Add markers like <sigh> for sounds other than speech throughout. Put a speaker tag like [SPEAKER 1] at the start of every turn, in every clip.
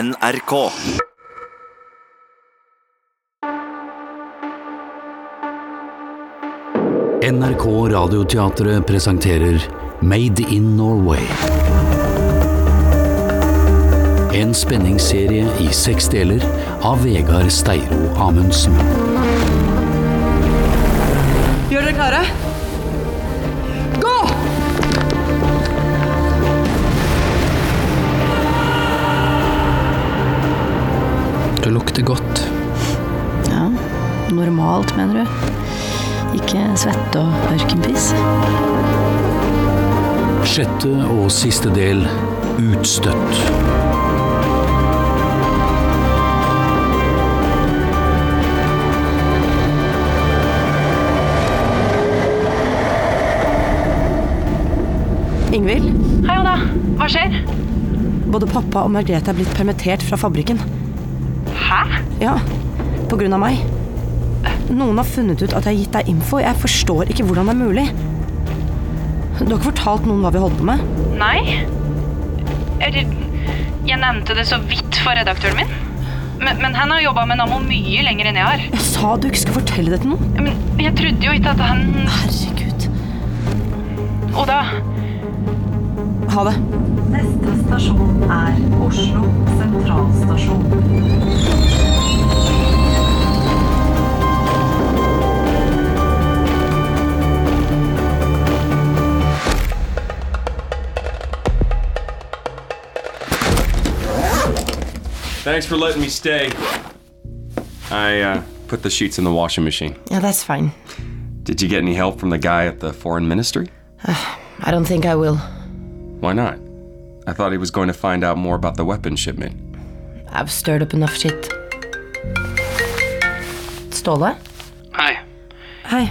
[SPEAKER 1] NRK.
[SPEAKER 2] NRK Radioteatret presenterer Made in Norway. En spenningsserie i seks deler av Vegard Steiro Amundsen.
[SPEAKER 3] Gjør dere klare? Gå!
[SPEAKER 2] Det lukter godt.
[SPEAKER 4] Ja, normalt, mener du? Ikke svette og ørkenpiss?
[SPEAKER 2] Sjette og siste del Utstøtt.
[SPEAKER 3] Ingvild,
[SPEAKER 5] Hei, Oda. Hva skjer?
[SPEAKER 3] både pappa og Margrethe er blitt permittert fra fabrikken.
[SPEAKER 5] Hæ?
[SPEAKER 3] Ja, på grunn av meg. Noen har funnet ut at jeg har gitt deg info. Jeg forstår ikke hvordan det er mulig. Du har ikke fortalt noen hva vi holdt på med?
[SPEAKER 5] Nei. Eller Jeg nevnte det så vidt for redaktøren min. Men, men han har jobba med Nammo mye lenger enn jeg har.
[SPEAKER 3] Jeg sa du ikke skulle fortelle det til noen.
[SPEAKER 5] Men jeg trodde jo ikke at han
[SPEAKER 3] Herregud.
[SPEAKER 5] Oda.
[SPEAKER 3] Ha det.
[SPEAKER 6] Neste stasjon er Oslo sentralstasjon.
[SPEAKER 7] Thanks for letting me stay. I uh, put the sheets in the washing machine.
[SPEAKER 8] Yeah, that's fine.
[SPEAKER 7] Did you get any help from the guy at the foreign ministry?
[SPEAKER 8] I don't think I will.
[SPEAKER 7] Why not? I thought he was going to find out more about the weapon shipment.
[SPEAKER 8] I've stirred up enough shit. Ståle?
[SPEAKER 9] Hei.
[SPEAKER 3] Hei.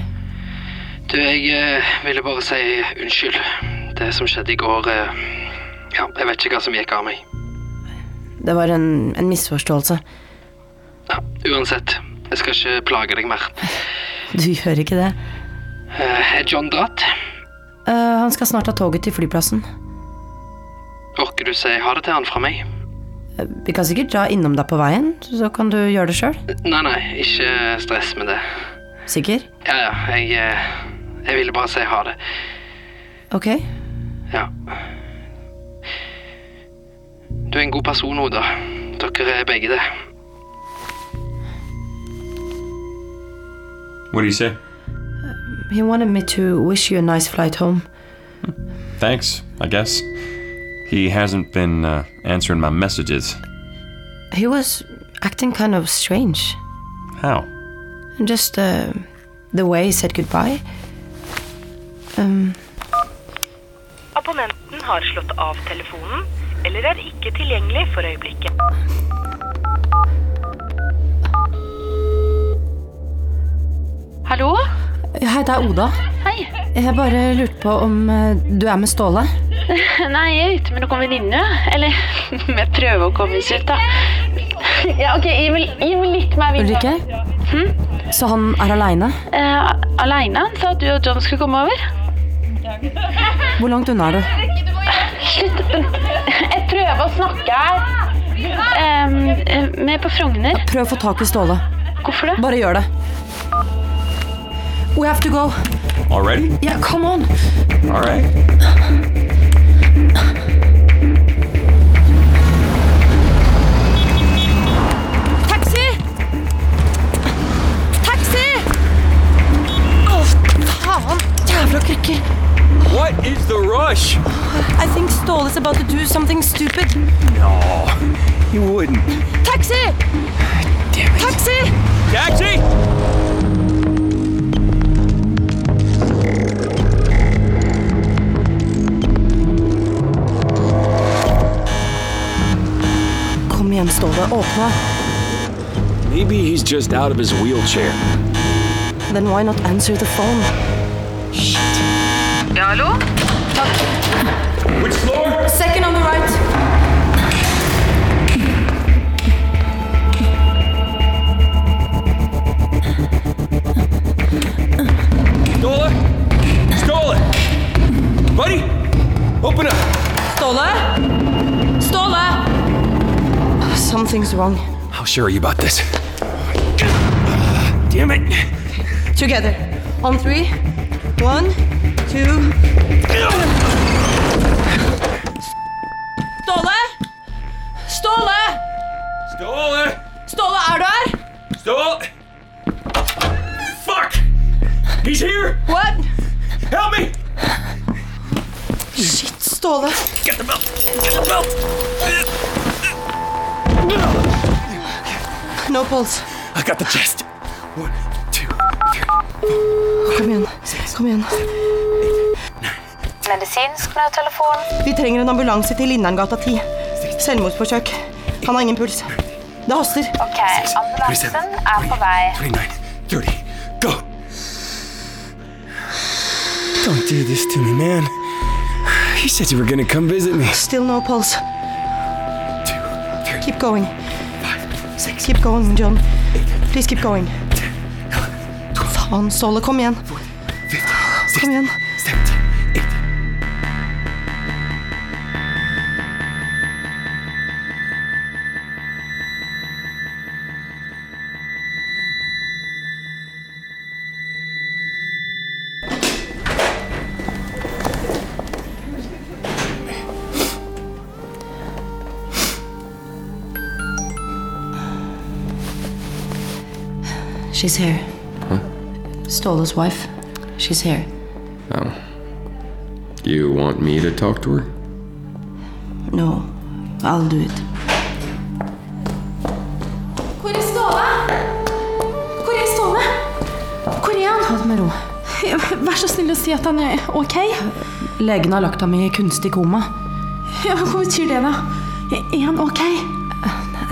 [SPEAKER 9] Du, jeg eh, ville bare si unnskyld. Det som skjedde i går eh, Ja, jeg vet ikke hva som gikk av meg.
[SPEAKER 8] Det var en, en misforståelse.
[SPEAKER 9] Ja, uansett, jeg skal ikke plage deg mer.
[SPEAKER 3] Du gjør ikke det.
[SPEAKER 9] Eh, er John dratt?
[SPEAKER 3] Eh, han skal snart ta toget til flyplassen.
[SPEAKER 9] Orker du si ha det til han fra meg?
[SPEAKER 3] Eh, Vi kan sikkert dra innom deg på veien, så kan du gjøre det sjøl.
[SPEAKER 9] Nei, nei, ikke stress med det.
[SPEAKER 3] Sikker?
[SPEAKER 9] Ja, ja, jeg eh, Jeg ville bare si ha det.
[SPEAKER 3] Ok.
[SPEAKER 9] Ja. Du er en god person, Oda. Dere er begge det.
[SPEAKER 7] What do you say?
[SPEAKER 3] He wanted me to wish you a nice flight home.
[SPEAKER 7] Thanks, I guess. He hasn't been uh, answering my messages.
[SPEAKER 8] He was acting kind of strange.
[SPEAKER 7] How?
[SPEAKER 8] Just uh, the way he said goodbye. Um,
[SPEAKER 10] Abonnenten har slått av telefonen eller er ikke tilgjengelig for øyeblikket.
[SPEAKER 5] Hallo?
[SPEAKER 3] Hei, det er Oda.
[SPEAKER 5] Hei.
[SPEAKER 3] Jeg bare lurte på om eh, du er med Ståle?
[SPEAKER 5] Nei, jeg er ute med noen venninner. Eller <laughs> vi prøver å komme oss ut, da. Ja, OK, gi meg, gi meg litt mer Hm?
[SPEAKER 3] Ulrikke? Så han er aleine?
[SPEAKER 5] Eh, Aleine? Han sa at du og John skulle komme over.
[SPEAKER 3] Hvor langt unna er du?
[SPEAKER 5] Slutt. Jeg prøver å snakke her. Um, vi er på Frogner.
[SPEAKER 3] Prøv å få tak i Ståle.
[SPEAKER 5] Hvorfor det?
[SPEAKER 3] Bare gjør det. We have to go.
[SPEAKER 7] Already?
[SPEAKER 3] Yeah, come on.
[SPEAKER 7] All right.
[SPEAKER 3] Taxi! Taxi! Å, faen. Jævla krykker.
[SPEAKER 7] What is the rush?
[SPEAKER 3] I think Ståle's about to do something stupid.
[SPEAKER 7] You wouldn't.
[SPEAKER 3] Taxi! Taxi!
[SPEAKER 7] Taxi!
[SPEAKER 3] Kom igjen, Ståle. Åpne.
[SPEAKER 11] Maybe he's just out of his wheelchair.
[SPEAKER 3] Then why not answer the phone?
[SPEAKER 10] Ja, hallo?
[SPEAKER 7] Which floor?
[SPEAKER 3] Second on the right.
[SPEAKER 7] Stole it! Stole it! Buddy! Open up!
[SPEAKER 3] Ståle? Ståle! Something's wrong.
[SPEAKER 12] How sure are you about this?
[SPEAKER 3] Damn it! Together. On three. One, two Ståle? Ståle!
[SPEAKER 11] Ståle!
[SPEAKER 3] Ståle, er du her?
[SPEAKER 11] Ståle! Fuck! He's here!
[SPEAKER 3] What?
[SPEAKER 11] Help me!
[SPEAKER 3] Shit, Ståle.
[SPEAKER 11] Get the belt! Get the belt!
[SPEAKER 3] No pulse.
[SPEAKER 12] I got the chest. One, two,
[SPEAKER 3] Kom igjen. Kom igjen.
[SPEAKER 13] Medisinsk nødtelefon.
[SPEAKER 3] Vi trenger en ambulanse til Linderngata 10. Selvmordsforsøk. Han har ingen puls. Det haster.
[SPEAKER 13] Ok, ambulansen er på vei.
[SPEAKER 12] 29, 30, go! Don't do this to me, man. You said you were gonna come visit me.
[SPEAKER 3] Still no pulse. Keep going. Keep going, John. Please keep going. Faen, Ståle. Kom igjen. Kom igjen.
[SPEAKER 14] She's here. Ståle's wife. She's here.
[SPEAKER 7] Oh. You want me to talk to her?
[SPEAKER 14] No, I'll do it.
[SPEAKER 5] Hvor er Ståle? Hvor er Ståle? Hvor er han?
[SPEAKER 3] Ta det med ro.
[SPEAKER 5] Vær så snill å si at han er ok.
[SPEAKER 3] Legen har lagt ham i kunstig koma.
[SPEAKER 5] Ja, Hva betyr det, da? Er han ok?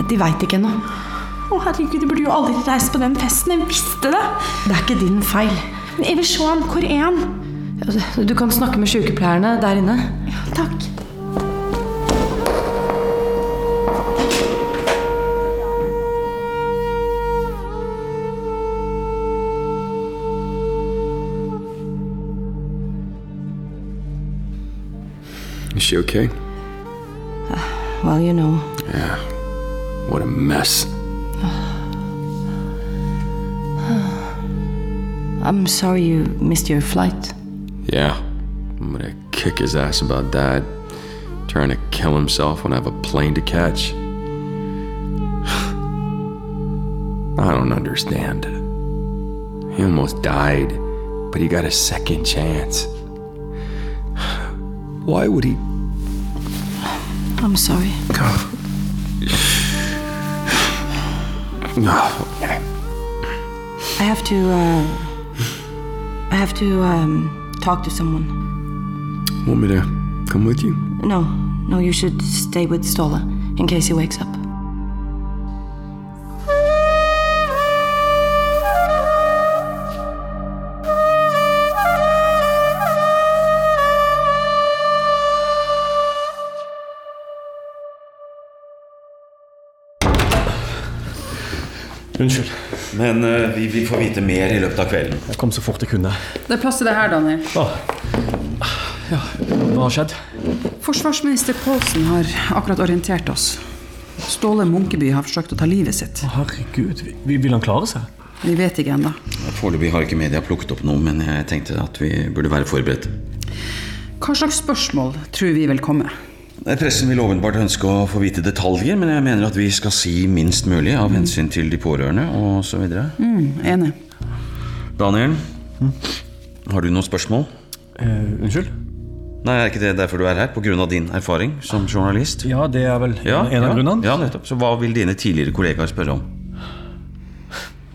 [SPEAKER 3] De veit ikke ennå.
[SPEAKER 5] Å, herregud, du burde jo aldri reist på den festen. Jeg visste det!
[SPEAKER 3] Det er ikke din feil. Altså,
[SPEAKER 5] Men jeg vil se han. Hvor er han?
[SPEAKER 3] Du kan snakke med sykepleierne der inne.
[SPEAKER 5] Takk.
[SPEAKER 7] Is she okay?
[SPEAKER 14] Ah, Well, you know.
[SPEAKER 7] Yeah. What a mess.
[SPEAKER 14] I'm sorry you missed your flight.
[SPEAKER 7] Yeah. I'm gonna kick his ass about that. Trying to kill himself when I have a plane to catch. <sighs> I don't understand. He almost died, but he got a second chance. <sighs> Why would he?
[SPEAKER 14] I'm sorry.
[SPEAKER 7] No.
[SPEAKER 14] I have to, uh, I have to, um, talk to someone.
[SPEAKER 7] Want me to come with you?
[SPEAKER 14] No, no, you should stay with Ståle in case he wakes up.
[SPEAKER 1] Unnskyld. Men eh, vi vil få vite mer i løpet av kvelden.
[SPEAKER 15] Jeg kom så fort jeg kunne.
[SPEAKER 10] Det er plass til det her, Daniel.
[SPEAKER 15] Hva har skjedd?
[SPEAKER 10] Forsvarsminister Paulsen har akkurat orientert oss. Ståle Munkeby har forsøkt å ta livet sitt.
[SPEAKER 15] Herregud, vi- vi- vil han klare seg?
[SPEAKER 10] Vi vet ikke ennå.
[SPEAKER 1] Foreløpig har ikke media plukket opp noe, men jeg tenkte at vi burde være forberedt.
[SPEAKER 10] Hva slags spørsmål tror vi vil komme?
[SPEAKER 1] Eh, Pressen vil åpenbart ønske å få vite detaljer, men jeg mener at vi skal si minst mulig av hensyn til de pårørende osv.
[SPEAKER 10] Mm, enig.
[SPEAKER 1] Daniel, Hm? har du noen spørsmål?
[SPEAKER 15] Eh, unnskyld?
[SPEAKER 1] Nei, Er ikke det derfor du er her? Pga. din erfaring som journalist?
[SPEAKER 15] Ja, det er vel
[SPEAKER 1] Ja,
[SPEAKER 15] en av
[SPEAKER 1] ja,
[SPEAKER 15] grunnene.
[SPEAKER 1] Ja, nettopp. Så hva vil dine tidligere kollegaer spørre om?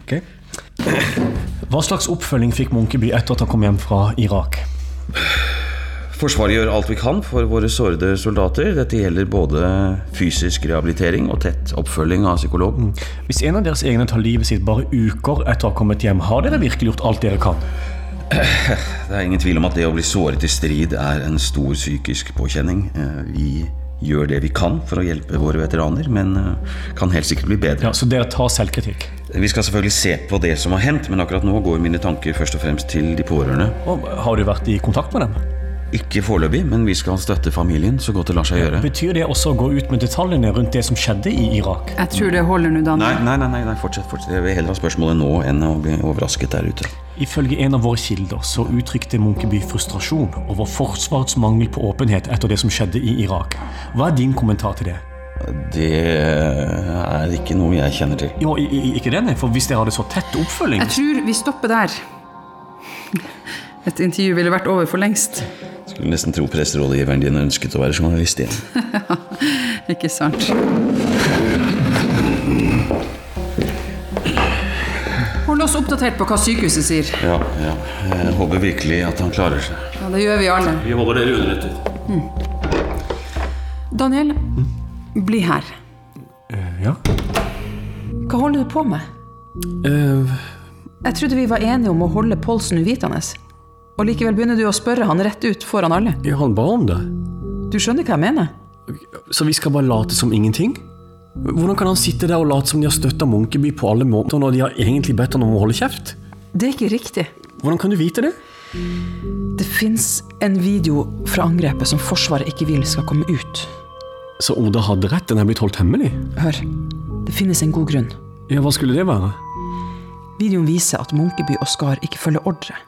[SPEAKER 15] Ok. Hva slags oppfølging fikk Munkeby etter at han kom hjem fra Irak?
[SPEAKER 1] Forsvaret gjør alt vi kan for våre sårede soldater. Dette gjelder både fysisk rehabilitering og tett oppfølging av psykolog.
[SPEAKER 15] Mm. Hvis en av deres egne tar livet sitt bare uker etter å ha kommet hjem, har dere virkelig gjort alt dere kan?
[SPEAKER 1] Det er ingen tvil om at det å bli såret i strid er en stor psykisk påkjenning. Eh, Vi gjør det vi kan for å hjelpe våre veteraner, men eh, kan helt sikkert bli bedre.
[SPEAKER 15] Ja, Så dere tar selvkritikk?
[SPEAKER 1] Vi skal selvfølgelig se på det som har hendt, men akkurat nå går mine tanker først og fremst til de pårørende.
[SPEAKER 15] Og har du vært i kontakt med dem?
[SPEAKER 1] Ikke foreløpig, men vi skal støtte familien så godt det lar seg gjøre.
[SPEAKER 15] Betyr det også å gå ut med detaljene rundt det som skjedde i Irak?
[SPEAKER 10] Jeg tror det holder nå, Daniel.
[SPEAKER 1] Nei, nei, nei, nei, nei fortsett, fortsett. Jeg vil heller ha spørsmålet nå enn å bli overrasket der ute.
[SPEAKER 15] Ifølge en av våre kilder så uttrykte Munkeby frustrasjon over Forsvarets mangel på åpenhet etter det som skjedde i Irak. Hva er din kommentar til det?
[SPEAKER 1] Det eh, er ikke noe jeg kjenner til.
[SPEAKER 15] Jo, i- i- ikke det, nei, for hvis dere hadde så tett oppfølging
[SPEAKER 10] Jeg tror vi stopper der. Et intervju ville vært over for lengst.
[SPEAKER 1] Skulle nesten tro presserådgiveren din ønsket å være journalist igjen.
[SPEAKER 10] Ikke sant? Hold oss oppdatert på hva sykehuset sier.
[SPEAKER 1] Ja, ja. Jeg håper virkelig at han klarer seg.
[SPEAKER 10] Ja, Det gjør vi alle.
[SPEAKER 1] Vi holder dere underrettet.
[SPEAKER 10] Daniel, bli her.
[SPEAKER 15] Mm. Eh, ja?
[SPEAKER 10] Hva holder du på med? Jeg trodde vi var enige om å holde Polsen uvitende. Og likevel begynner du å spørre han rett ut foran alle.
[SPEAKER 15] Ja, han ba om det.
[SPEAKER 10] Du skjønner hva jeg mener?
[SPEAKER 15] Så vi skal bare late som ingenting? Hvordan kan han sitte der og late som de har støtta Munkeby på alle måter, når de har egentlig bedt han om å holde kjeft?
[SPEAKER 10] Det er ikke riktig.
[SPEAKER 15] Hvordan kan du vite det?
[SPEAKER 10] Det fins en video fra angrepet som Forsvaret ikke vil skal komme ut.
[SPEAKER 15] Så Oda hadde rett, den er blitt holdt hemmelig?
[SPEAKER 10] Hør, det finnes en god grunn.
[SPEAKER 15] Ja, hva skulle det være?
[SPEAKER 10] Videoen viser at Munkeby og Skar ikke følger ordre.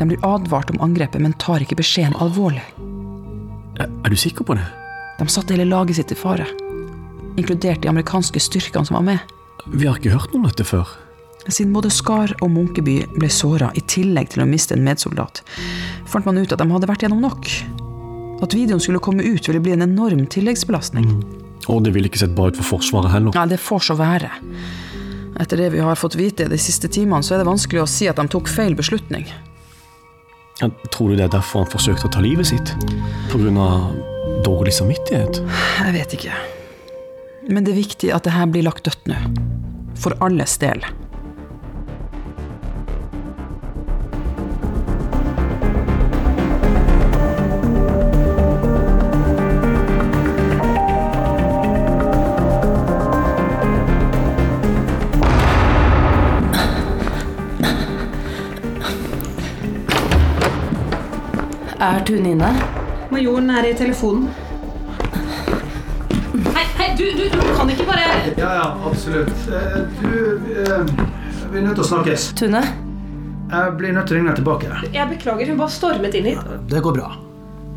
[SPEAKER 10] De blir advart om angrepet, men tar ikke beskjeden alvorlig.
[SPEAKER 15] Er, du sikker på det?
[SPEAKER 10] De satte hele laget sitt i fare. Inkludert de amerikanske styrkene som var med.
[SPEAKER 15] Vi har ikke hørt noe om dette før.
[SPEAKER 10] Siden både Skar og Munkeby ble såra, i tillegg til å miste en medsoldat, fant man ut at de hadde vært gjennom nok. At videoen skulle komme ut, ville bli en enorm tilleggsbelastning.
[SPEAKER 15] Og det ville ikke sett bra ut for Forsvaret heller.
[SPEAKER 10] Nei, det får så være. Etter det vi har fått vite de siste timene, så er det vanskelig å si at de tok feil beslutning.
[SPEAKER 15] Ja, tror du det er derfor han forsøkte å ta livet sitt? På grunn av dårlig samvittighet?
[SPEAKER 10] Jeg vet ikke. Men det er viktig at det her blir lagt dødt nå. For alles del.
[SPEAKER 8] Er Tune inne?
[SPEAKER 16] Majoren er i telefonen. Hei, hei, du, du, du kan ikke bare
[SPEAKER 17] Ja, ja, absolutt. Eh, Du eh, Vi er nødt til å snakkes.
[SPEAKER 8] Tune?
[SPEAKER 17] Jeg blir nødt til å ringe deg tilbake.
[SPEAKER 16] Jeg beklager, hun bare stormet inn hit.
[SPEAKER 17] Det går bra.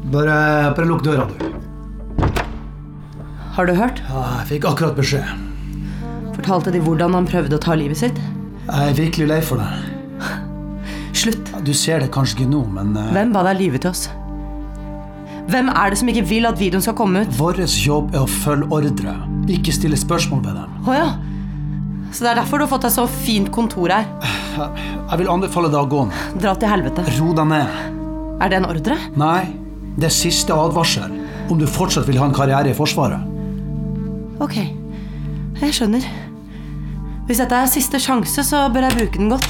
[SPEAKER 17] Bare, bare lukk døra, du.
[SPEAKER 8] Har du hørt?
[SPEAKER 17] Ja, jeg fikk akkurat beskjed.
[SPEAKER 8] Fortalte de hvordan han prøvde å ta livet sitt?
[SPEAKER 17] Jeg er virkelig lei for deg.
[SPEAKER 8] Slutt.
[SPEAKER 17] Du ser det kanskje ikke nå, men eh,
[SPEAKER 8] Hvem ba deg lyve til oss? Hvem er det som ikke vil at videoen skal komme ut?
[SPEAKER 17] Vår jobb er å følge ordre. Ikke stille spørsmål ved dem.
[SPEAKER 8] Å ja. Så det er derfor du har fått deg så fint kontor her.
[SPEAKER 17] Eh, Jeg vil anbefale deg å gå nå.
[SPEAKER 8] Dra til helvete.
[SPEAKER 17] Ro deg ned.
[SPEAKER 8] Er det en ordre?
[SPEAKER 17] Nei, det er siste advarsel om du fortsatt vil ha en karriere i Forsvaret.
[SPEAKER 8] Ok. Jeg skjønner. Hvis dette er siste sjanse, så bør jeg bruke den godt.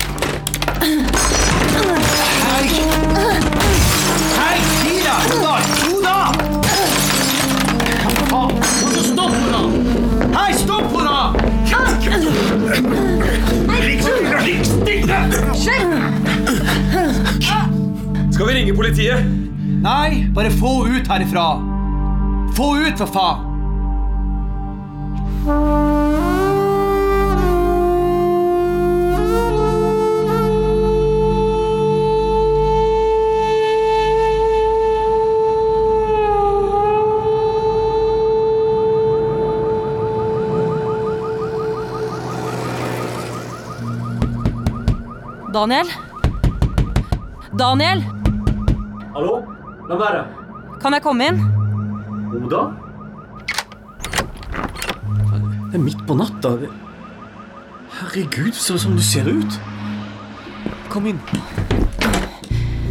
[SPEAKER 17] Hei, Tira! Oda! Oda! Hva faen? Må du stoppe henne? Hei, stopp henne! Ligg stille! Skal vi ringe politiet? Nei, bare få henne ut herifra. Få henne ut, for faen!
[SPEAKER 8] Daniel? Daniel,
[SPEAKER 15] Hallo? La være.
[SPEAKER 8] kan jeg komme inn?
[SPEAKER 15] Oda? Det er midt på natta. Herregud, så som du ser ut. Kom inn.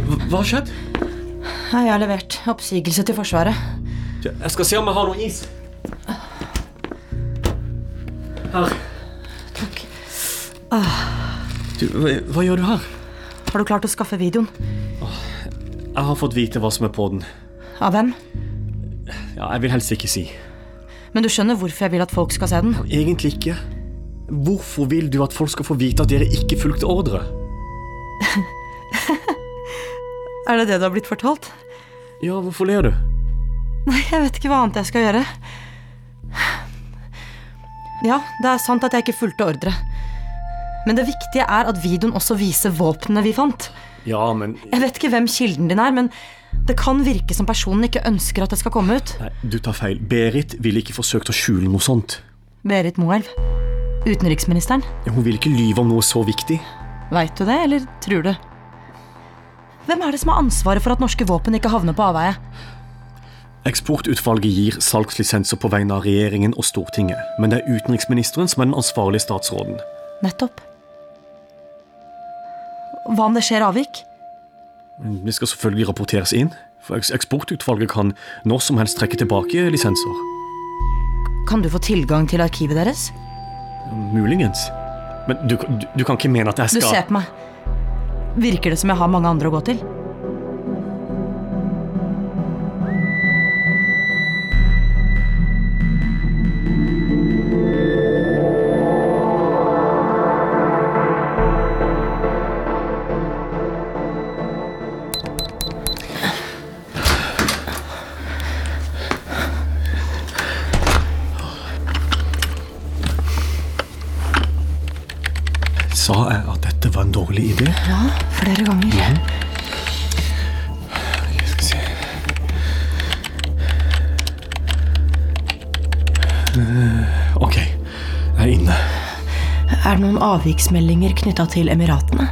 [SPEAKER 15] Hva- Hva har skjedd?
[SPEAKER 8] Nei, Jeg har levert oppsigelse til Forsvaret.
[SPEAKER 15] Jeg skal se om jeg har noe is. Her.
[SPEAKER 8] Ah,
[SPEAKER 15] Du, hva, hva gjør du her?
[SPEAKER 8] har du klart å skaffe videoen?
[SPEAKER 15] Jeg har fått vite hva som er på den.
[SPEAKER 8] Av hvem?
[SPEAKER 15] Ja, jeg vil helst ikke si.
[SPEAKER 8] Men du skjønner hvorfor jeg vil at folk skal se den?
[SPEAKER 15] Egentlig ikke. Hvorfor vil du at folk skal få vite at dere ikke fulgte
[SPEAKER 8] <laughs>
[SPEAKER 15] ordre?
[SPEAKER 8] Er det det du har blitt fortalt?
[SPEAKER 15] Ja, hvorfor ler du?
[SPEAKER 3] Nei, jeg vet ikke hva annet jeg skal gjøre. Ja, det er sant at jeg ikke fulgte ordre. Men det viktige er at videoen også viser våpnene vi fant.
[SPEAKER 15] Ja, men
[SPEAKER 3] Jeg vet ikke hvem kilden din er, men det kan virke som personen ikke ønsker at det skal komme ut.
[SPEAKER 15] Nei, du tar feil. Berit ville ikke forsøkt å skjule noe sånt.
[SPEAKER 3] Berit Moelv. Utenriksministeren.
[SPEAKER 15] Hun ville ikke lyve om noe så viktig.
[SPEAKER 3] Veit du det, eller tror du? Hvem er det som har ansvaret for at norske våpen ikke havner på avveie?
[SPEAKER 15] Eksportutvalget gir salgslisenser på vegne av regjeringen og Stortinget, men det er utenriksministeren som er den ansvarlige statsråden.
[SPEAKER 3] Nettopp. Hva om det skjer avvik?
[SPEAKER 15] Det skal selvfølgelig rapporteres inn, for eks- eksportutvalget kan når som helst trekke tilbake lisenser.
[SPEAKER 3] Kan du få tilgang til arkivet deres?
[SPEAKER 15] Muligens. Men du, du, du kan ikke mene at jeg
[SPEAKER 3] Du
[SPEAKER 15] skal
[SPEAKER 3] ser på meg. Virker det som jeg har mange andre å gå til?
[SPEAKER 15] Sa jeg at dette var en dårlig idé?
[SPEAKER 3] Ja, flere ganger.
[SPEAKER 4] Mhm.
[SPEAKER 15] Jeg skal se Eh, Ok, jeg er inne.
[SPEAKER 3] Er det noen avviksmeldinger knytta til Emiratene?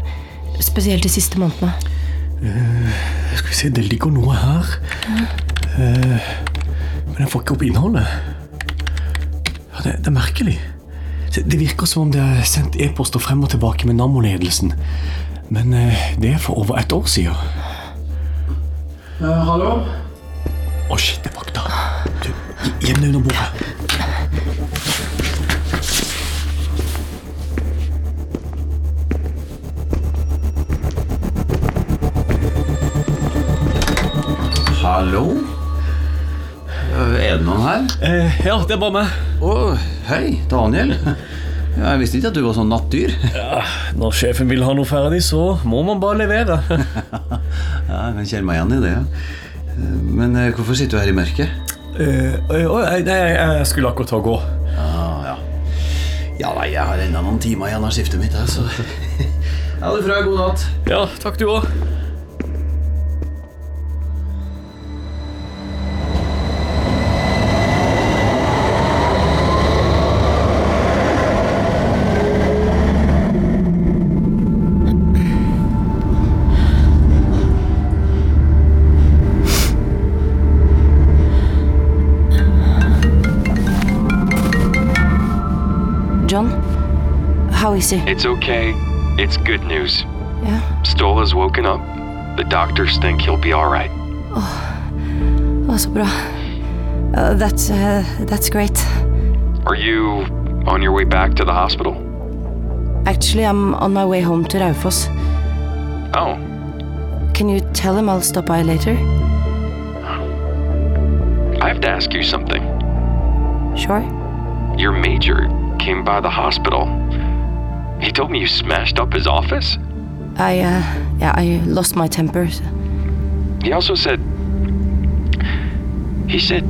[SPEAKER 3] Spesielt de siste månedene.
[SPEAKER 15] Eh, skal vi se, det ligger noe her. Eh, men jeg får ikke opp innholdet. Ja, det, det er merkelig. Se, Det virker som om det er sendt e-poster frem og tilbake med Nammo-ledelsen. Men eh, det er for over et år siden.
[SPEAKER 18] hallo?
[SPEAKER 15] Å, shit, det er vakta. Du, gi- gjem deg under bordet.
[SPEAKER 17] Hallo? Er det noen her?
[SPEAKER 15] Eh, ja, det er bare meg.
[SPEAKER 17] Å, hei, Daniel. Jeg visste ikke at du var sånn nattdyr.
[SPEAKER 15] Ja, når sjefen vil ha noe ferdig, så må man bare levere.
[SPEAKER 17] <laughs> Ja, jeg kan kjenne meg igjen i det. ja. Men eh, hvorfor sitter du her i mørket?
[SPEAKER 15] Eh, oi, oi, nei, jeg, jeg skulle akkurat ta og gå.
[SPEAKER 17] Ah, Ja, ja. Ja, nei, jeg har enda noen timer igjen av skiftet mitt, jeg, så Ha det fra. God natt.
[SPEAKER 15] Ja, takk du òg.
[SPEAKER 3] John, how is he?
[SPEAKER 7] It's okay. It's good news.
[SPEAKER 3] Yeah.
[SPEAKER 7] Stola's woken up. The doctors think he'll be alright.
[SPEAKER 3] Å, så bra. Uh, that's, uh, that's great.
[SPEAKER 7] Are you on your way back to the hospital?
[SPEAKER 3] Actually, I'm on my way home to Raufoss.
[SPEAKER 7] Oh,
[SPEAKER 3] Can you tell him I'll stop by later?
[SPEAKER 7] I have to ask you something.
[SPEAKER 3] Sure.
[SPEAKER 7] Your major came by the hospital. He told me you smashed up his office?
[SPEAKER 3] I, uh, yeah, I lost my temper.
[SPEAKER 7] He also said. He said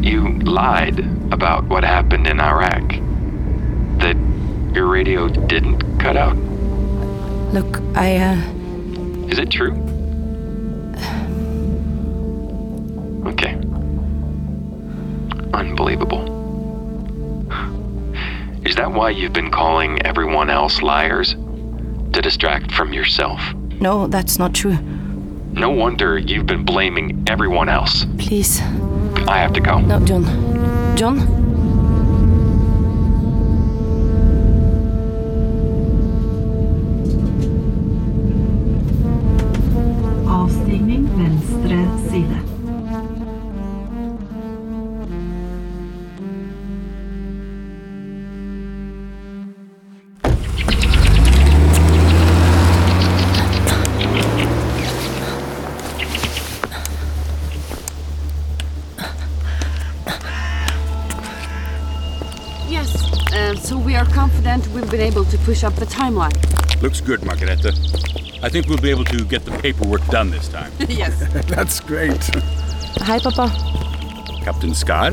[SPEAKER 7] you lied about what happened in Iraq. That your radio didn't cut out.
[SPEAKER 3] Look, I, uh,
[SPEAKER 7] Is it true? Okay. Unbelievable. Is that why you've been calling everyone else liars? To distract from yourself.
[SPEAKER 3] no, that's not true.
[SPEAKER 7] No wonder you've been blaming everyone else.
[SPEAKER 3] Please.
[SPEAKER 7] I have to go.
[SPEAKER 3] No, John. John?
[SPEAKER 5] Avstigning venstre side.
[SPEAKER 9] Yes,
[SPEAKER 19] um, <laughs>
[SPEAKER 9] uh, so we are confident we've been able to push up the timeline.
[SPEAKER 20] Looks good, Margarete. I think we'll be able to get the paperwork done this time.
[SPEAKER 10] Yes.
[SPEAKER 20] That's great.
[SPEAKER 3] Hei, pappa.
[SPEAKER 20] Captain Scott,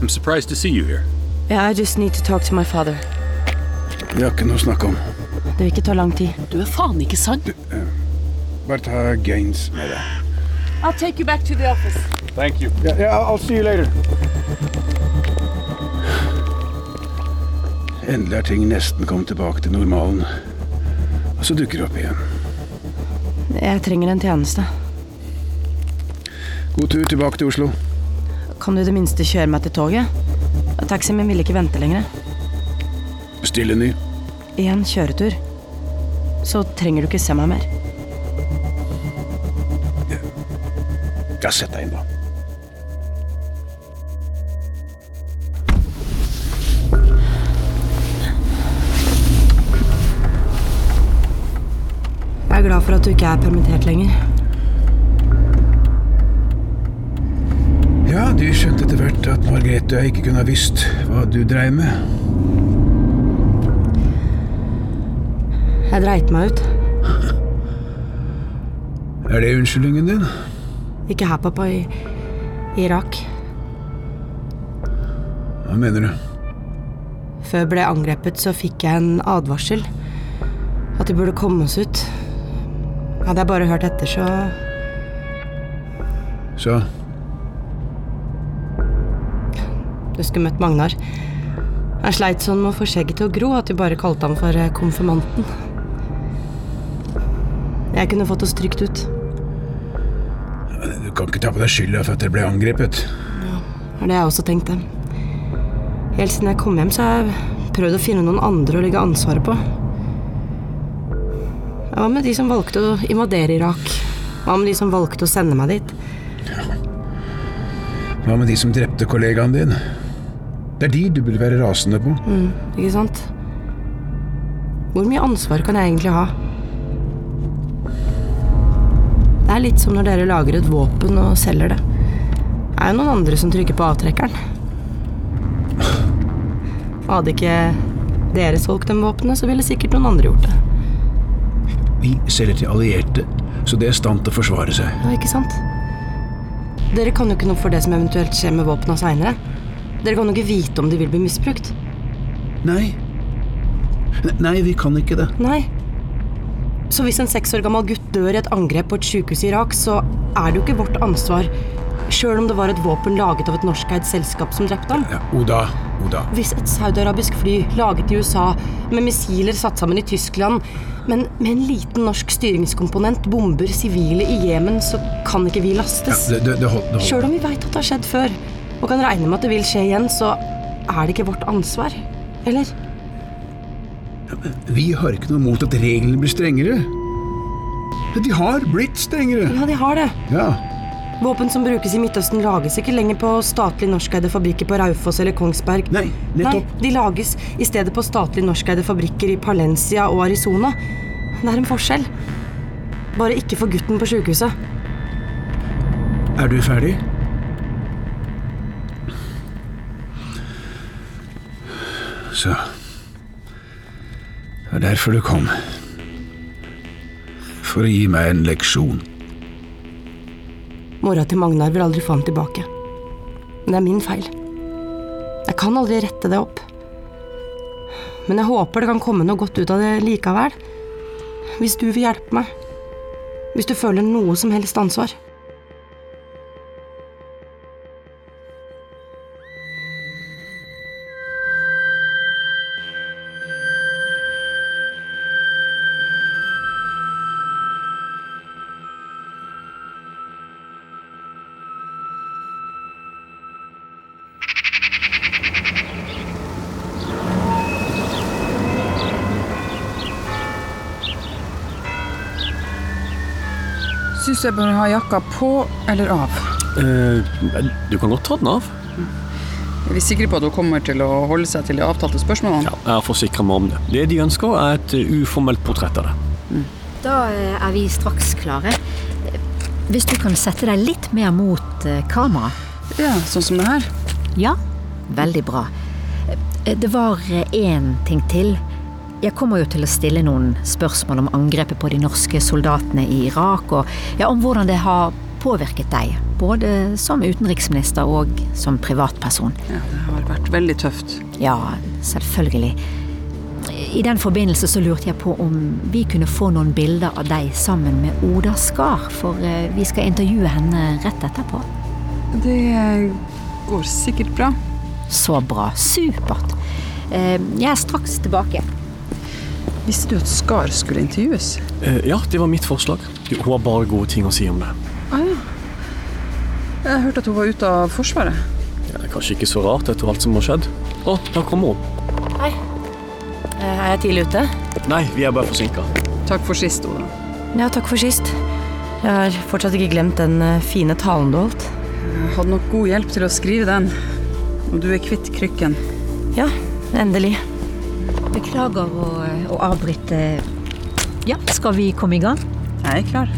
[SPEAKER 20] I'm surprised to see you here.
[SPEAKER 3] Yeah, I just need to talk to my father.
[SPEAKER 18] Vi har ikke noe å snakke om.
[SPEAKER 3] Det vil ikke ta lang tid.
[SPEAKER 19] Du er faen ikke sann.
[SPEAKER 18] Bare ta gains med deg.
[SPEAKER 19] I'll take you back to the office.
[SPEAKER 20] Thank you.
[SPEAKER 18] Ja, ja, I'll see you later. Endelig har ting nesten kommet tilbake til normalen. Og så dukker det opp igjen.
[SPEAKER 3] Jeg trenger en tjeneste.
[SPEAKER 18] God tur tilbake til Oslo.
[SPEAKER 3] Kan du i det minste kjøre meg til toget? Taxien min ville ikke vente lenger.
[SPEAKER 18] Bestill en ny.
[SPEAKER 3] Én kjøretur. Så trenger du ikke se meg mer.
[SPEAKER 18] Ja, sett deg inn, da.
[SPEAKER 3] Jeg er glad for at du ikke er permittert lenger.
[SPEAKER 18] Ja, du skjønte etter hvert at Margrethe og jeg ikke kunne ha visst hva du dreiv med.
[SPEAKER 3] Jeg dreit meg ut.
[SPEAKER 18] Er det unnskyldningen din?
[SPEAKER 3] Ikke her, pappa. I i Irak.
[SPEAKER 18] Hva mener du?
[SPEAKER 3] Før jeg ble angrepet, så fikk jeg en advarsel. At de burde komme oss ut. Hadde jeg bare hørt etter, så
[SPEAKER 18] Så
[SPEAKER 3] Du skulle møtt Magnar. Han sleit sånn med å få skjegget til å gro at de bare kalte ham for eh, konfirmanten. Jeg kunne fått oss trygt ut.
[SPEAKER 18] du kan ikke ta på deg skylda for at dere ble angrepet.
[SPEAKER 3] Det var det jeg også tenkte. Helt siden jeg kom hjem, så har jeg prøvd å finne noen andre å legge ansvaret på. Hva med de som valgte å invadere Irak? Hva med de som valgte å sende meg dit?
[SPEAKER 18] Hva med de som drepte kollegaen din? Det er de du burde være rasende på.
[SPEAKER 3] Mm, ikke sant? Hvor mye ansvar kan jeg egentlig ha? Det er litt som når dere lager et våpen og selger det. Det er jo noen andre som trykker på avtrekkeren. Hadde ikke dere solgt de våpnene, så ville sikkert noen andre gjort det.
[SPEAKER 18] Vi selger til allierte, så de er i stand til å forsvare seg.
[SPEAKER 3] Ja, ikke sant? Dere kan jo ikke noe for det som eventuelt skjer med våpna seinere. Dere kan jo ikke vite om de vil bli misbrukt.
[SPEAKER 18] Nei. Nei, vi kan ikke det.
[SPEAKER 3] Nei. Så hvis en seks år gammel gutt dør i et angrep på et sykehus i Irak, så er det jo ikke vårt ansvar. Sjøl om det var et våpen laget av et norskeid selskap som drepte ham.
[SPEAKER 18] Oda, Oda.
[SPEAKER 3] Hvis et saudiarabisk fly laget i USA, med missiler satt sammen i Tyskland, men med en liten norsk styringskomponent bomber sivile i Jemen, så kan ikke vi lastes.
[SPEAKER 18] Ja, det- det- det hold- det hold-
[SPEAKER 3] Sjøl om vi veit at det har skjedd før, og kan regne med at det vil skje igjen, så er det ikke vårt ansvar. Eller?
[SPEAKER 18] Vi har ikke noe mot at reglene blir strengere. Men De har blitt strengere.
[SPEAKER 3] Ja, de har det.
[SPEAKER 18] Ja.
[SPEAKER 3] Våpen som brukes i Midtøsten, lages ikke lenger på statlig norskeide fabrikker på Raufoss eller Kongsberg.
[SPEAKER 18] Nei, nettopp.
[SPEAKER 3] de lages i stedet på statlig norskeide fabrikker i Palencia og Arizona. Det er en forskjell. Bare ikke for gutten på sjukehuset.
[SPEAKER 18] Er du ferdig? Så Det er derfor du kom. For å gi meg en leksjon.
[SPEAKER 3] Mora til Magnar vil aldri få ham tilbake. Men det er min feil. Jeg kan aldri rette det opp. Men jeg håper det kan komme noe godt ut av det likevel. Hvis du vil hjelpe meg. Hvis du føler noe som helst ansvar.
[SPEAKER 10] Syns jeg bør ha jakka på eller av.
[SPEAKER 15] Eh,
[SPEAKER 21] du kan godt ta den av.
[SPEAKER 10] Er vi sikre på at hun kommer til å holde seg til de avtalte spørsmålene?
[SPEAKER 21] Jeg har forsikra meg om det. Det de ønsker, er et eh, uformelt portrett av det.
[SPEAKER 22] Da eh, er vi straks klare. Eh, Hvis du kan sette deg litt mer mot eh, kamera.
[SPEAKER 10] Ja, sånn som det her?
[SPEAKER 22] Ja, veldig bra. Eh, Det var eh, én ting til. Jeg kommer jo til å stille noen spørsmål om angrepet på de norske soldatene i Irak, og ja, om hvordan det har påvirket deg, både som utenriksminister og som privatperson.
[SPEAKER 10] Ja, det har vært veldig tøft.
[SPEAKER 22] Ja, selvfølgelig. I den forbindelse så lurte jeg på om vi kunne få noen bilder av deg sammen med Oda Skar, for eh, vi skal intervjue henne rett etterpå.
[SPEAKER 10] Det eh, går sikkert bra.
[SPEAKER 22] Så bra. Supert. Eh, Jeg er straks tilbake.
[SPEAKER 10] Visste du at Skar skulle intervjues?
[SPEAKER 15] Eh, ja, det var mitt forslag. Hun har bare gode ting å si om det.
[SPEAKER 10] Ah, ja. Jeg hørte at hun var ute av Forsvaret.
[SPEAKER 15] Ja, det er kanskje ikke så rart etter alt som har skjedd. Å, der kommer hun.
[SPEAKER 8] Hei. Eh, Er jeg tidlig ute?
[SPEAKER 15] Nei, vi er bare forsinka.
[SPEAKER 10] Takk for sist, Oda.
[SPEAKER 8] Ja, takk for sist. Jeg har fortsatt ikke glemt den eh, fine talen du holdt.
[SPEAKER 10] Jeg hadde nok god hjelp til å skrive den. Og du er kvitt krykken.
[SPEAKER 8] Ja, endelig.
[SPEAKER 22] Beklager å, å avbryte. Ja, skal vi komme i gang?
[SPEAKER 10] Jeg er klar.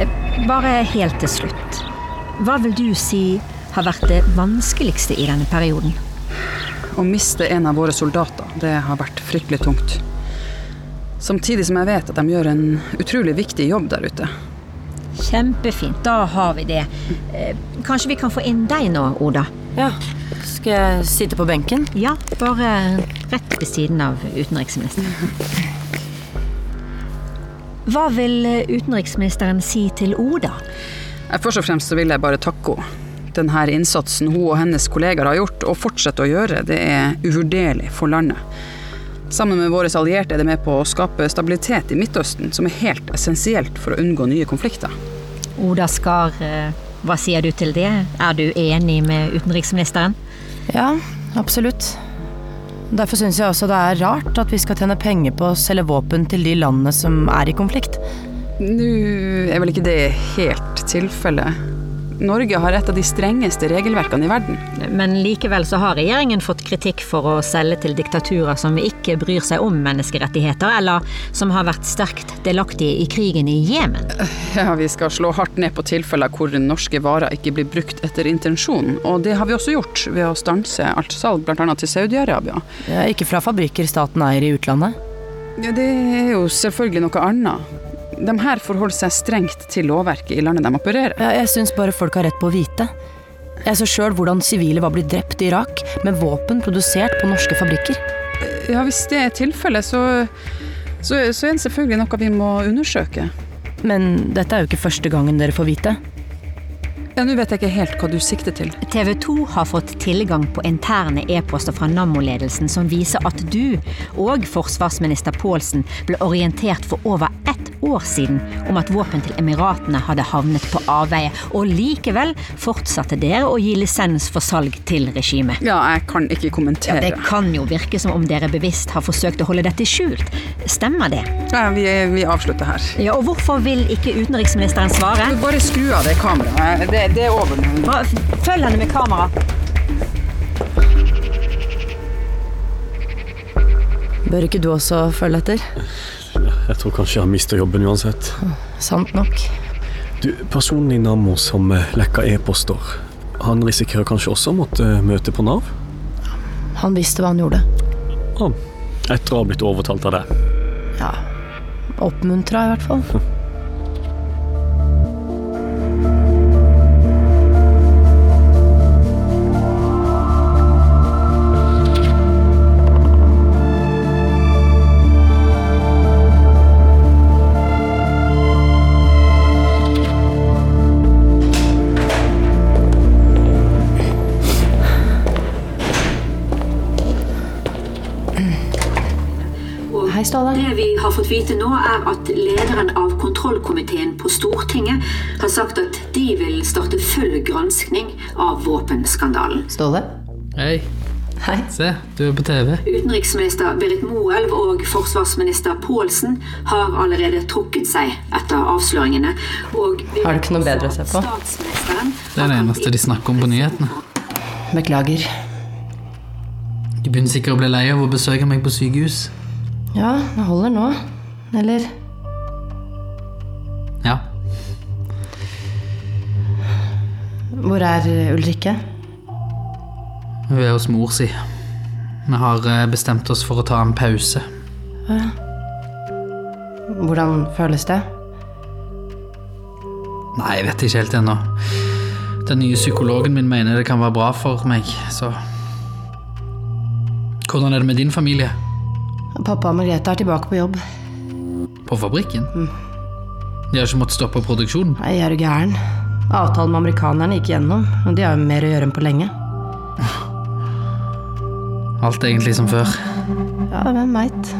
[SPEAKER 22] Eh, Bare helt til slutt. Hva vil du si har vært det vanskeligste i denne perioden?
[SPEAKER 10] Å miste en av våre soldater, det har vært fryktelig tungt. Samtidig som jeg vet at de gjør en utrolig viktig jobb der ute.
[SPEAKER 22] Kjempefint, da har vi det. Eh, Kanskje vi kan få inn deg nå, Oda?
[SPEAKER 8] Ja. Skal jeg sitte på benken?
[SPEAKER 22] Ja, bare rett ved siden av utenriksministeren. Hva vil eh, utenriksministeren si til Oda?
[SPEAKER 10] Eh, Først og fremst så vil jeg bare takke henne. Denne innsatsen hun og hennes kollegaer har gjort, og fortsetter å gjøre, det er uvurderlig for landet. Sammen med våre allierte er det med på å skape stabilitet i Midtøsten, som er helt essensielt for å unngå nye konflikter.
[SPEAKER 22] Oda Skar, eh, hva sier du til det? Er du enig med utenriksministeren?
[SPEAKER 8] Ja, absolutt. Derfor syns jeg også det er rart at vi skal tjene penger på å selge våpen til de landene som er i konflikt.
[SPEAKER 10] Nå er vel ikke det helt tilfellet. Norge har et av de strengeste regelverkene i verden.
[SPEAKER 22] Men likevel så har regjeringen fått kritikk for å selge til diktaturer som ikke bryr seg om menneskerettigheter, eller som har vært sterkt delaktige i krigen i Jemen.
[SPEAKER 10] Ja, vi skal slå hardt ned på tilfeller hvor norske varer ikke blir brukt etter intensjon, og det har vi også gjort ved å stanse alt salg, bl.a. til Saudi-Arabia.
[SPEAKER 8] Ja, ikke fra fabrikker staten eier i utlandet.
[SPEAKER 10] Ja, det er jo selvfølgelig noe annet. De her forholder seg strengt til lovverket i landet de opererer.
[SPEAKER 8] Ja, jeg syns bare folk har rett på å vite. Jeg så sjøl hvordan sivile var blitt drept i Irak med våpen produsert på norske fabrikker.
[SPEAKER 10] Ja, hvis det er tilfellet, så, så, så er det selvfølgelig noe vi må undersøke.
[SPEAKER 8] Men Mm, dette er jo ikke første gangen dere får vite.
[SPEAKER 10] Ja, Nå vet jeg ikke helt hva du sikter til.
[SPEAKER 22] TV 2 har fått tilgang på interne e-poster fra Nammo-ledelsen som viser at du og forsvarsminister Pålsen ble orientert for over ett år siden om at våpen til Emiratene hadde havnet på avveie, og likevel fortsatte dere å gi lisens for salg til regimet.
[SPEAKER 10] Ja, jeg kan ikke kommentere.
[SPEAKER 22] det kan jo virke som om dere bevisst har forsøkt å holde dette skjult. Stemmer det?
[SPEAKER 10] Ja, vi, vi avslutter her.
[SPEAKER 22] Ja, og hvorfor vil ikke utenriksministeren svare?
[SPEAKER 10] Du bare skru av det kameraet. Det, det er over nå.
[SPEAKER 22] Hva- Følg henne med kamera.
[SPEAKER 8] Bør ikke du også følge etter?
[SPEAKER 15] Jeg tror kanskje jeg har mista jobben uansett.
[SPEAKER 8] Mm, Sant nok.
[SPEAKER 15] Du, Personen i Nammo som eh, lekker e-poster, han risikerer kanskje også å måtte eh, møte på Nav?
[SPEAKER 8] Han visste hva han gjorde.
[SPEAKER 15] Ah, etter å ha blitt overtalt av deg.
[SPEAKER 8] Ja. Oppmuntra, i hvert fall.
[SPEAKER 23] Hei, Ståle. Det vi har fått vite nå, er at lederen av kontrollkomiteen på Stortinget har sagt at de vil starte full granskning av våpenskandalen.
[SPEAKER 4] Ståle? Hei. Hei. Se, du er på TV.
[SPEAKER 23] Utenriksminister Berit Moelv og forsvarsminister Pålsen har allerede trukket seg etter avsløringene. Og
[SPEAKER 19] Har du ikke noe bedre å se på?
[SPEAKER 23] Statsministeren
[SPEAKER 4] Det er det eneste de snakker om på nyhetene.
[SPEAKER 19] Beklager.
[SPEAKER 4] De begynner sikkert å bli lei av å besøke meg på sykehus.
[SPEAKER 8] Ja, det holder nå. Eller
[SPEAKER 4] Ja,
[SPEAKER 3] Hvor er Ulrikke?
[SPEAKER 4] Hun er hos mor si. Vi har eh, bestemt oss for å ta en pause.
[SPEAKER 3] Ja. Hvordan føles det?
[SPEAKER 4] Nei, jeg vet ikke helt ennå. Den nye psykologen min mener det kan være bra for meg, så Hvordan er det med din familie?
[SPEAKER 3] Pappa og Margrethe er tilbake på jobb.
[SPEAKER 4] På fabrikken? De har ikke måttet stoppe produksjonen?
[SPEAKER 3] Nei, er du gæren? Avtalen med amerikanerne gikk gjennom, og de har jo mer å gjøre enn på lenge.
[SPEAKER 4] Alt er egentlig som før.
[SPEAKER 3] Ja, hvem veit.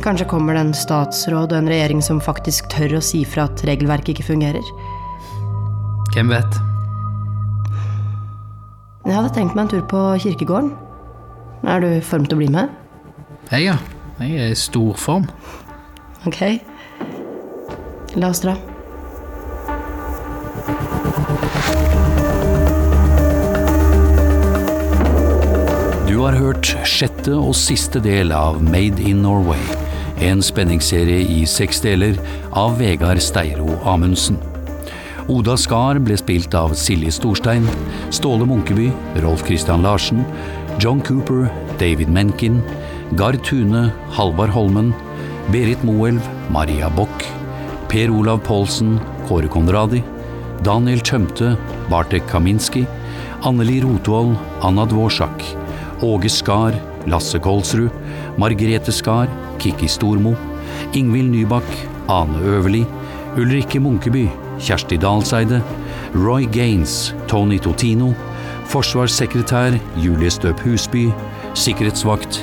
[SPEAKER 3] Kanskje kommer det en statsråd og en regjering som faktisk tør å si fra at regelverket ikke fungerer.
[SPEAKER 4] Hvem vet?
[SPEAKER 3] Jeg hadde tenkt meg en tur på kirkegården. Er du form til å bli med?
[SPEAKER 4] Jeg, ja. Jeg er i stor form.
[SPEAKER 3] Ok. La oss dra.
[SPEAKER 2] Du har hørt sjette og siste del av Made in Norway, en spenningsserie i seks deler av Vegard Steiro Amundsen. Oda Skar ble spilt av Silje Storstein, Ståle Munkeby, Rolf Christian Larsen, John Cooper, David Menken, Gard Tune, Halvard Holmen, Berit Moelv, Maria Bock, Per Olav Paulsen, Kåre Konradi, Daniel Tømte, Bartek Kaminski, Anneli Rotvold, Anna Dvorsak, Åge Skar, Lasse Kolsrud, Margrete Skar, Kikki Stormo, Ingvild Nybakk, Ane Øverli, Ulrikke Munkeby, Kjersti Dalseide, Roy Gaines, Tony Totino, forsvarssekretær Julie Støp Husby, sikkerhetsvakt